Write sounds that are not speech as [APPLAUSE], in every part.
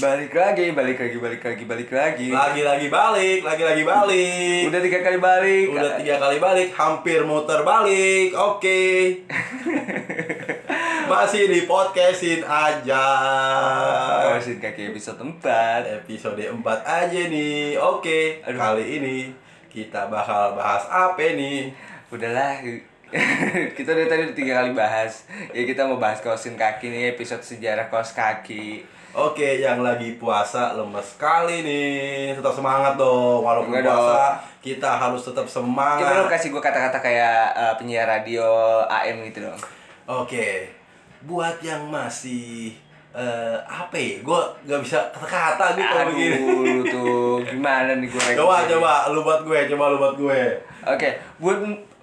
Balik lagi, balik lagi, balik lagi, balik lagi. Lagi-lagi balik, lagi-lagi balik. Udah tiga kali balik. Udah tiga kali balik, hampir muter balik. Oke. [LAUGHS] Masih di podcastin aja. Kawasin kaki bisa tempat. Episode 4 aja nih. Oke. Aduh. Kali ini kita bakal bahas apa nih? Udahlah. [LAUGHS] kita dari tadi udah tiga kali bahas. Ya kita mau bahas kawasin kaki nih episode sejarah kaos kaki. Oke, yang lagi puasa lemes sekali nih. Tetap semangat dong. Walaupun Enggak puasa, kita harus tetap Kita dong semangat. kasih gue kata-kata kayak eh, penyiar radio AM gitu dong. Oke. Buat yang masih eh apa ya? Gue gak bisa kata-kata gue kalau Aduh, Oh, begini. lu tuh gimana nih gue Coba coba lu buat gue, coba lu buat gue. Oke, buat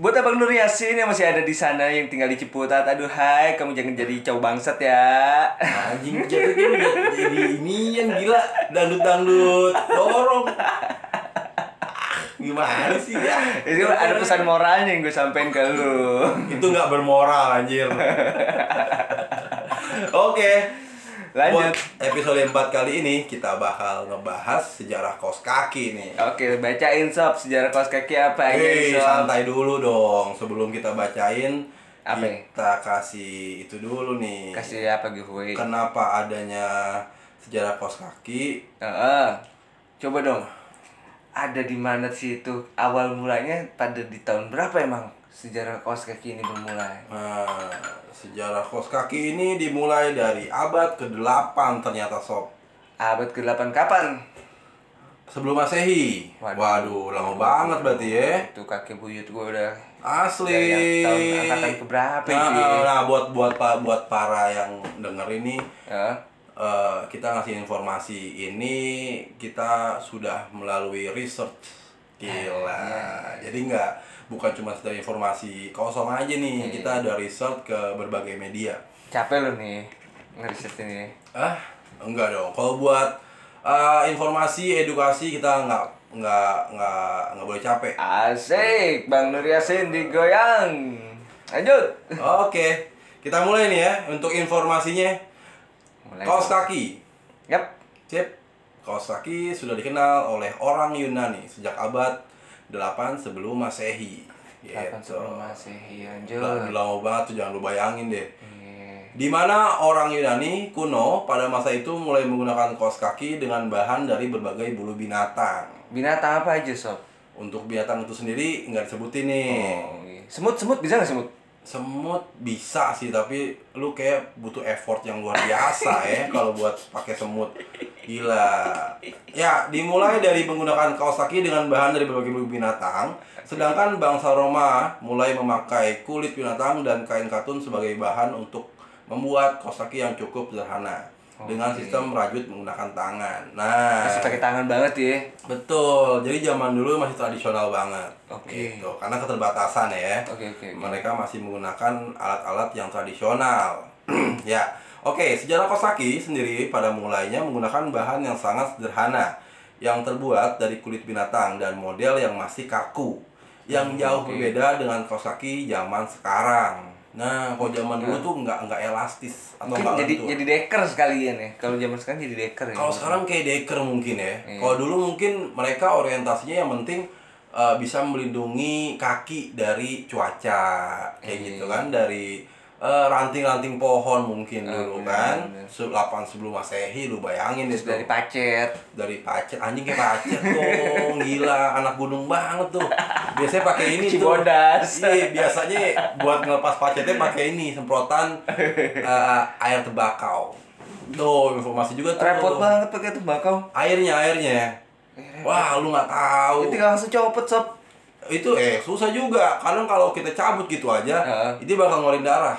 buat Abang Nur Yasin yang masih ada di sana yang tinggal di Ciputat, aduh hai, kamu jangan jadi cowok bangsat ya. Anjing jadi gini, jadi ini yang gila dangdut-dangdut dorong. Ah, Gimana sih ya? Itu ada pesan moralnya yang gue sampein ke lu. [LAUGHS] Itu nggak bermoral anjir. Oke. Lanjut. Buat episode 4 kali ini kita bakal ngebahas sejarah kos kaki nih. Oke, bacain sob sejarah kaos kaki apa Hei, aja sob. santai dulu dong sebelum kita bacain Apa ya? kita kasih itu dulu nih. Kasih apa giveaway? Heeh. Kan. Kenapa adanya sejarah kos kaki? Coba dong. Ada di mana sih itu? Awal mulanya pada di tahun berapa emang sejarah kaos kaki ini bermulai? Nah, sejarah kos kaki ini dimulai dari abad ke-8 ternyata sob. Abad ke-8 kapan? Sebelum Masehi. Waduh. Waduh, lama banget berarti ya. Itu kakek buyut gue udah Asli. Dari yang tahun angkatan keberapa nah, itu ya? eh, Nah, buat buat pa- buat para yang denger ini ya. eh, kita ngasih informasi ini kita sudah melalui research. Gila. Jadi nggak bukan cuma sekedar informasi kosong aja nih. Kita ada research ke berbagai media. capek lu nih ngeriset ini Ah, enggak dong. Kalau buat eh, informasi edukasi kita nggak nggak nggak nggak boleh capek. asik bang Nur Yasin digoyang lanjut Oke, kita mulai nih ya untuk informasinya. mulai Kaos kaki. yap Sip. Kaos kaki sudah dikenal oleh orang Yunani sejak abad 8 sebelum Masehi. kapan Gitu. sebelum masehi lanjut Lah, Udah lama banget tuh jangan lu bayangin deh. Iya. Di mana orang Yunani kuno pada masa itu mulai menggunakan kaos kaki dengan bahan dari berbagai bulu binatang. binatang apa aja sob Untuk binatang itu sendiri nggak disebutin nih. Oh. Iya. semut semut bisa nggak semut semut bisa sih tapi lu kayak butuh effort yang luar biasa [LAUGHS] ya kalau buat pakai semut gila ya dimulai dari menggunakan kaos kaki dengan bahan dari berbagai bulu binatang sedangkan bangsa Roma mulai memakai kulit binatang dan kain katun sebagai bahan untuk membuat kaos kaki yang cukup sederhana dengan Oke. sistem merajut menggunakan tangan nah masih pakai tangan banget ya Betul, jadi zaman dulu masih tradisional banget. Oke. Gitu, Karena keterbatasan ya. Oke, oke, oke. Mereka masih menggunakan alat-alat yang tradisional. [CLEARS THROAT] ya. Oke, sejarah Kosaki sendiri pada mulainya menggunakan bahan yang sangat sederhana yang terbuat dari kulit binatang dan model yang masih kaku. Yang jauh Hmm, oke. berbeda dengan Kosaki zaman sekarang. Nah, kalau zaman dulu tuh nggak nggak elastis Hmm, ya. atau mungkin nggak jadi lentur. jadi deker sekalian ya kalau zaman sekarang jadi deker ya Kalau sekarang kayak deker mungkin ya. Iya. Kalau dulu mungkin mereka orientasinya yang penting uh, bisa melindungi kaki dari cuaca kayak Iya. gitu kan dari uh, ranting-ranting pohon mungkin dulu benar, kan. benar. Se- 8 sebelum Masehi lu bayangin iya, Terus itu. dari Dari, pacet pacet anjing kayak pacet dong. Gila, anak gunung banget tuh. Biasanya pakai ini tuh. Cibodas Iya, biasanya buat ngelepas pacetnya pakai ini [LAUGHS] semprotan uh, air tebakau. Tuh, informasi juga tuh. repot banget pakai tembakau Airnya, airnya. Wah, lu nggak tahu. itu kan- tinggal langsung copot sob Itu eh susah juga. Kadang kalau kita cabut gitu aja, Heeh. itu bakal ngeluarin darah.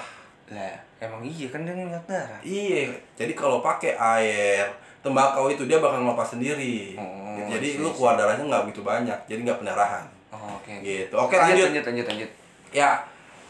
lah emang iya kan dia ngeliat darah Iya. Jadi kalau pakai air tembakau itu dia bakal ngelepas sendiri. Oh, iya, Jadi lu iya. keluar darahnya nggak begitu banyak. Jadi nggak pendarahan. Oh, oke. Gitu. Oke, lanjut. Lanjut, lanjut, lanjut. Ya,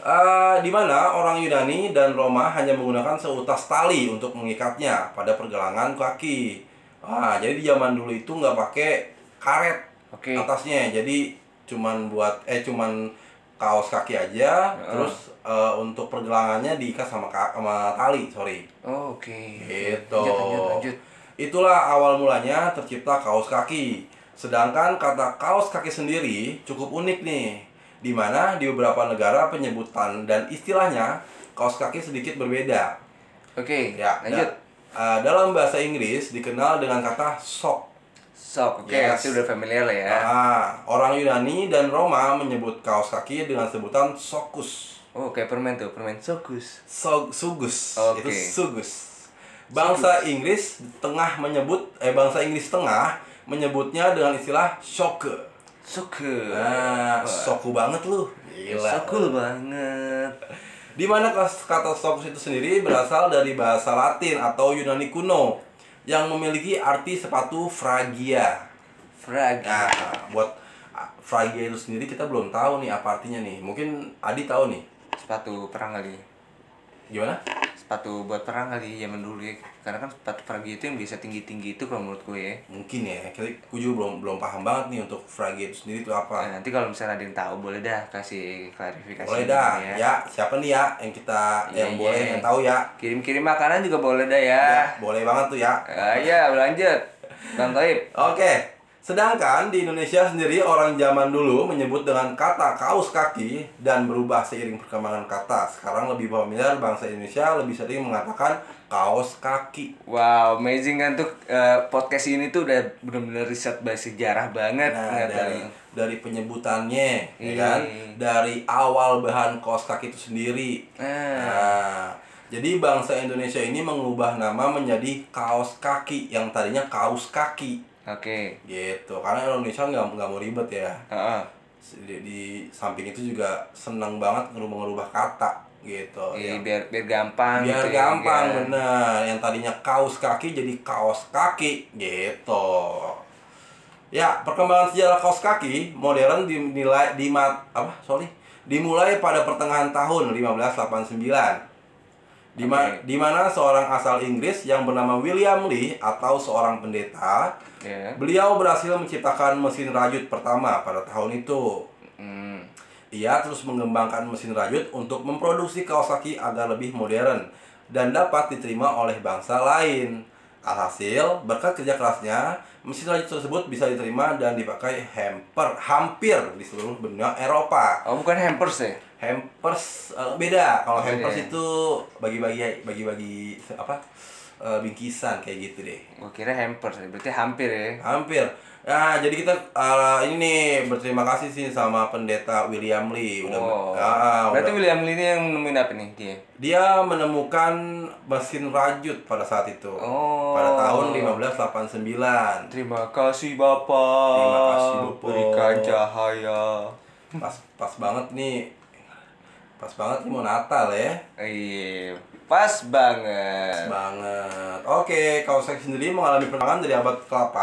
eh, di mana orang Yunani dan Roma hanya menggunakan seutas tali untuk mengikatnya pada pergelangan kaki. Ah, jadi di zaman dulu itu nggak pakai karet Oke. atasnya, jadi cuman buat eh cuman kaos kaki aja, Heeh. terus eh, untuk pergelangannya diikat sama, ka- sama tali, sorry. Oh, oke. Gitu. Lanjut, lanjut, lanjut. Itulah awal mulanya tercipta kaos kaki. Sedangkan kata kaos kaki sendiri cukup unik nih, di mana di beberapa negara penyebutan dan istilahnya kaos kaki sedikit berbeda. Oke, Ya, lanjut. da- eh, dalam bahasa Inggris dikenal dengan kata sok. Sok, oke, Yes. itu udah familiar lah ya. Ah, orang Yunani dan Roma menyebut kaos kaki dengan sebutan sokus. Oh, kayak permen tuh, permen sokus. So- sugus Oke. itu sugus bangsa Inggris tengah menyebut eh bangsa Inggris tengah menyebutnya dengan istilah shoke Soke. nah soku banget lu Sokul banget. di mana kas- kata sokus itu sendiri berasal dari bahasa Latin atau Yunani kuno yang memiliki arti sepatu fragia Frag. nah buat ah, fragia itu sendiri kita belum tahu nih apa artinya nih mungkin Adi tahu nih Sepatu perang kali. gimana Sepatu buat perang kali zaman dulu ya. Karena kan sepatu perang itu yang bisa tinggi-tinggi itu kalau menurut gue ya. mungkin ya kita gue juga belum belum paham banget nih untuk fragia itu sendiri itu apa Nah, nanti kalau misalnya ada yang tahu boleh dah kasih klarifikasi. Ah. Boleh dah, gitu ya. siapa nih ya yang kita Iya, yang iya. boleh yang tahu ya. Kirim-kirim makanan juga boleh dah ya. Ya, boleh banget tuh ya. Ah, ya, lanjut. Bang Toib. Oke. Sedangkan di Indonesia sendiri orang zaman dulu menyebut dengan kata kaos kaki dan berubah seiring perkembangan kata. Sekarang lebih familiar bangsa Indonesia lebih sering mengatakan kaos kaki. Wow, amazing kan tuh eh, podcast ini tuh udah bener-bener riset bahasa sejarah banget. Nah, ternyata. dari dari penyebutannya, ya Iya. kan? Dari awal bahan kaos kaki itu sendiri. Ah, Nah, jadi bangsa Indonesia ini mengubah nama menjadi kaos kaki yang tadinya kaos kaki Oke. gitu karena Indonesia nggak nggak mau ribet ya Heeh. di, di samping itu juga senang banget ngerubah-ngerubah kata gitu Iya, ya. biar biar gampang. biar gitu ya, gampang biar- bener yang tadinya kaos kaki jadi kaos kaki gitu ya perkembangan sejarah kaos kaki modern dinilai di apa sorry dimulai pada pertengahan tahun 1589 di ma- Oke. di mana seorang asal Inggris yang bernama William Lee atau seorang pendeta Ya. beliau berhasil menciptakan mesin rajut pertama pada tahun itu Hmm. ia terus mengembangkan mesin rajut untuk memproduksi kaos kaki agar lebih modern dan dapat diterima oleh bangsa lain. Alhasil, berkat kerja kerasnya, mesin rajut tersebut bisa diterima dan dipakai hamper hampir di seluruh benua Eropa. Oh, bukan hampers ya? Hampers eh, beda. Kalau Beda hampers ya? itu bagi-bagi bagi-bagi apa? eh, bingkisan kayak gitu deh. Gue kira hampers, ya. berarti hampir ya. Hampir. Nah, jadi kita eh, ini nih berterima kasih sih sama pendeta William Lee udah Wow. ah, ah, Oh. berarti udah- William Lee ini yang nemuin apa nih dia? Dia menemukan mesin rajut pada saat itu. Oh. Pada tahun 1589. Terima kasih Bapak. Terima kasih, Bapak. Berikan cahaya. Pas pas banget nih. Pas banget nih mau Natal ya. Iya, pas Pas banget. banget. Oke, kaos kaki sendiri mengalami perkembangan dari abad ke-8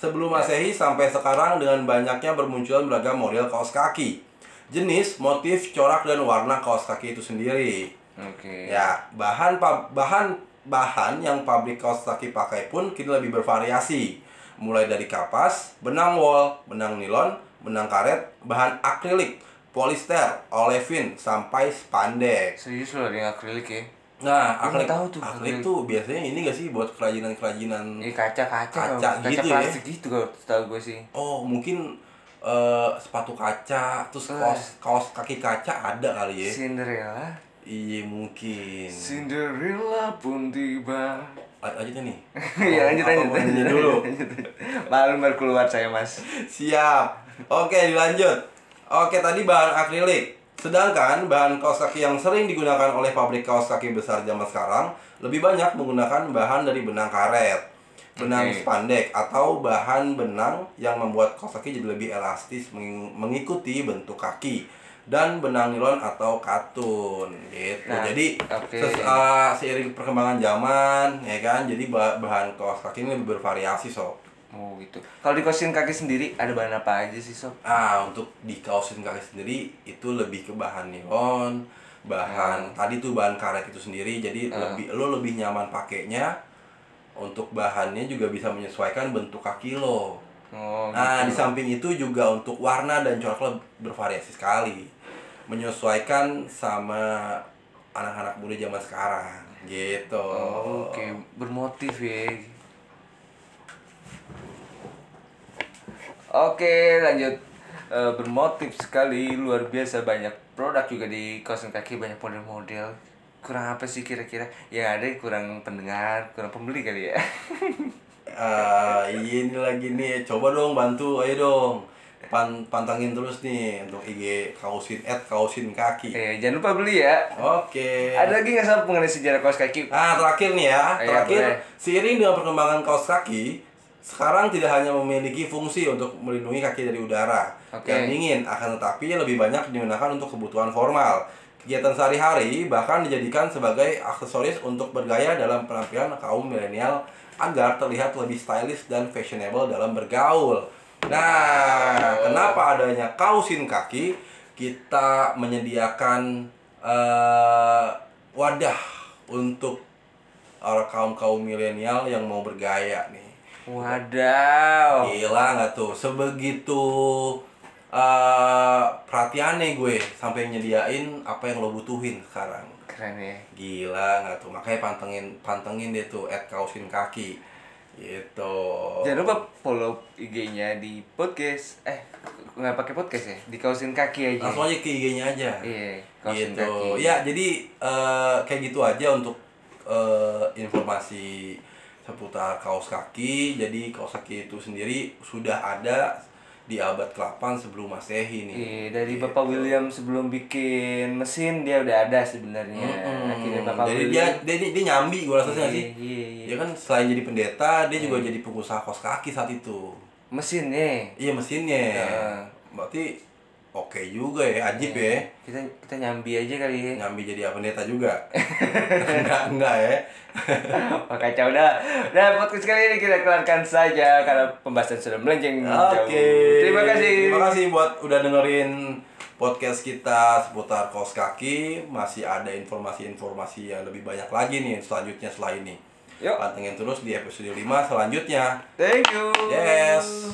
sebelum Masehi sampai sekarang dengan banyaknya bermunculan beragam model kaos kaki. Jenis, motif, corak dan warna kaos kaki itu sendiri. Oke. Ya, bahan pa- bahan bahan yang pabrik kaos kaki pakai pun kini lebih bervariasi. Mulai dari kapas, benang wol, benang nilon, benang karet, bahan akrilik, polister, olefin, sampai spandex. Serius loh ada yang akrilik ya? Nah, Belum akrilik, tahu tuh, akrilik akrilik. Iya. tuh biasanya ini gak sih buat kerajinan-kerajinan Ini kaca-kaca Kaca kalau- kaca gitu ya? plastik gitu kalau setahu gue sih. Oh, mungkin eh, sepatu kaca, Eh. terus kaos kaos kaki kaca ada kali ya. Cinderella, Iya, mungkin. Cinderella pun tiba. Lan- Lanjutnya nih. [LAUGHS] Iya lanjut Apa lanjut mau lanjut nyanyi dulu. lanjut. Malam baru keluar saya mas. Siap. Oke, dilanjut. Oke, tadi bahan akrilik. Sedangkan bahan kaos kaki yang sering digunakan oleh pabrik kaos kaki besar zaman sekarang lebih banyak menggunakan bahan dari benang karet, benang Oke. spandek atau bahan benang yang membuat kaos kaki jadi lebih elastis meng- mengikuti bentuk kaki dan benang nilon atau katun gitu. Nah, jadi oke. ses- ah, seiring perkembangan zaman ya kan, jadi ba- bahan kaos kaki ini lebih bervariasi sob. Oh gitu. Kalau di kosin kaki sendiri ada bahan apa aja sih sob? Ah, untuk di kaosin kaki sendiri itu lebih ke bahan nilon, bahan tadi tuh bahan karet itu sendiri. Jadi lebih lo lebih nyaman pakainya. Untuk bahannya juga bisa menyesuaikan bentuk kaki lo. Oh. Nah, di samping itu juga untuk warna dan corak lo bervariasi sekali. Menyesuaikan sama Oh, anak-anak muda zaman sekarang gitu. Oke bermotif ya. Oke, lanjut. Eh, bermotif sekali, luar biasa banyak produk juga di kaos kaki banyak model-model. Kurang apa sih kira-kira? Ya ada yang kurang pendengar, kurang pembeli kali ya. [LAUGHS] Ah, iya ini lagi nih, coba dong bantu, ayo dong. Pan- pantangin terus nih untuk IG kausin at kausin kaki. eh, jangan lupa beli ya. Oke. Ada lagi nggak soal mengenai sejarah kaos kaki? Nah, terakhir nih ya, Iya, terakhir boleh. seiring dengan perkembangan kaos kaki, sekarang tidak hanya memiliki fungsi untuk melindungi kaki dari udara Oke. dan dingin, akan tetapi lebih banyak digunakan untuk kebutuhan formal. Kegiatan sehari-hari bahkan dijadikan sebagai aksesoris untuk bergaya dalam penampilan kaum milenial agar terlihat lebih stylish dan fashionable dalam bergaul. Nah, kenapa adanya kausin kaki? Kita menyediakan eh, wadah untuk orang kaum kaum milenial yang mau bergaya nih. Wadaw. Gila nggak tuh, sebegitu eh perhatiannya gue sampai nyediain apa yang lo butuhin sekarang. Keren ya. Gila nggak tuh, makanya pantengin pantengin deh tuh at kausin kaki. Gitu. Jangan lupa follow IG-nya di podcast. Eh, nggak pakai podcast ya? Di kausin kaki aja. Langsung aja ke IG-nya aja. Iya, kausin gitu. kaki. Ya, jadi eh, kayak gitu aja untuk eh, informasi seputar kaos kaki. Jadi kaos kaki itu sendiri sudah ada di abad ke-8 sebelum Masehi nih. Iya, dari Gitu. Bapak William sebelum bikin mesin dia udah ada sebenarnya. Mm-mm. Akhirnya Bapak Hmm, jadi dia, William. dia dia nyambi gua rasa sih nggak sih. Iya, iya, Dia iya. kan selain jadi pendeta, dia juga jadi pengusaha kaos kaki saat itu. Mesinnya. Iya mesinnya. Iya. Berarti oke juga ya, ajib ya. Kita kita nyambi aja kali ya. nyambi jadi apa pendeta juga enggak enggak ya [LAUGHS] Wah, kacau dah. Dan podcast kali ini kita kelarkan saja karena pembahasan sudah melenceng oke jauh. Iya, Terima kasih. terima kasih buat udah dengerin podcast kita seputar kos kaki masih ada informasi-informasi yang lebih banyak lagi nih selanjutnya setelah ini Yuk. pantengin terus di episode 5 selanjutnya Thank you. yes